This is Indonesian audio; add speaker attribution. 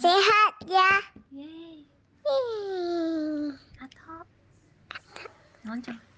Speaker 1: Sehat ya.
Speaker 2: Yeay.
Speaker 1: Hmm.
Speaker 2: Atau. Lonceng.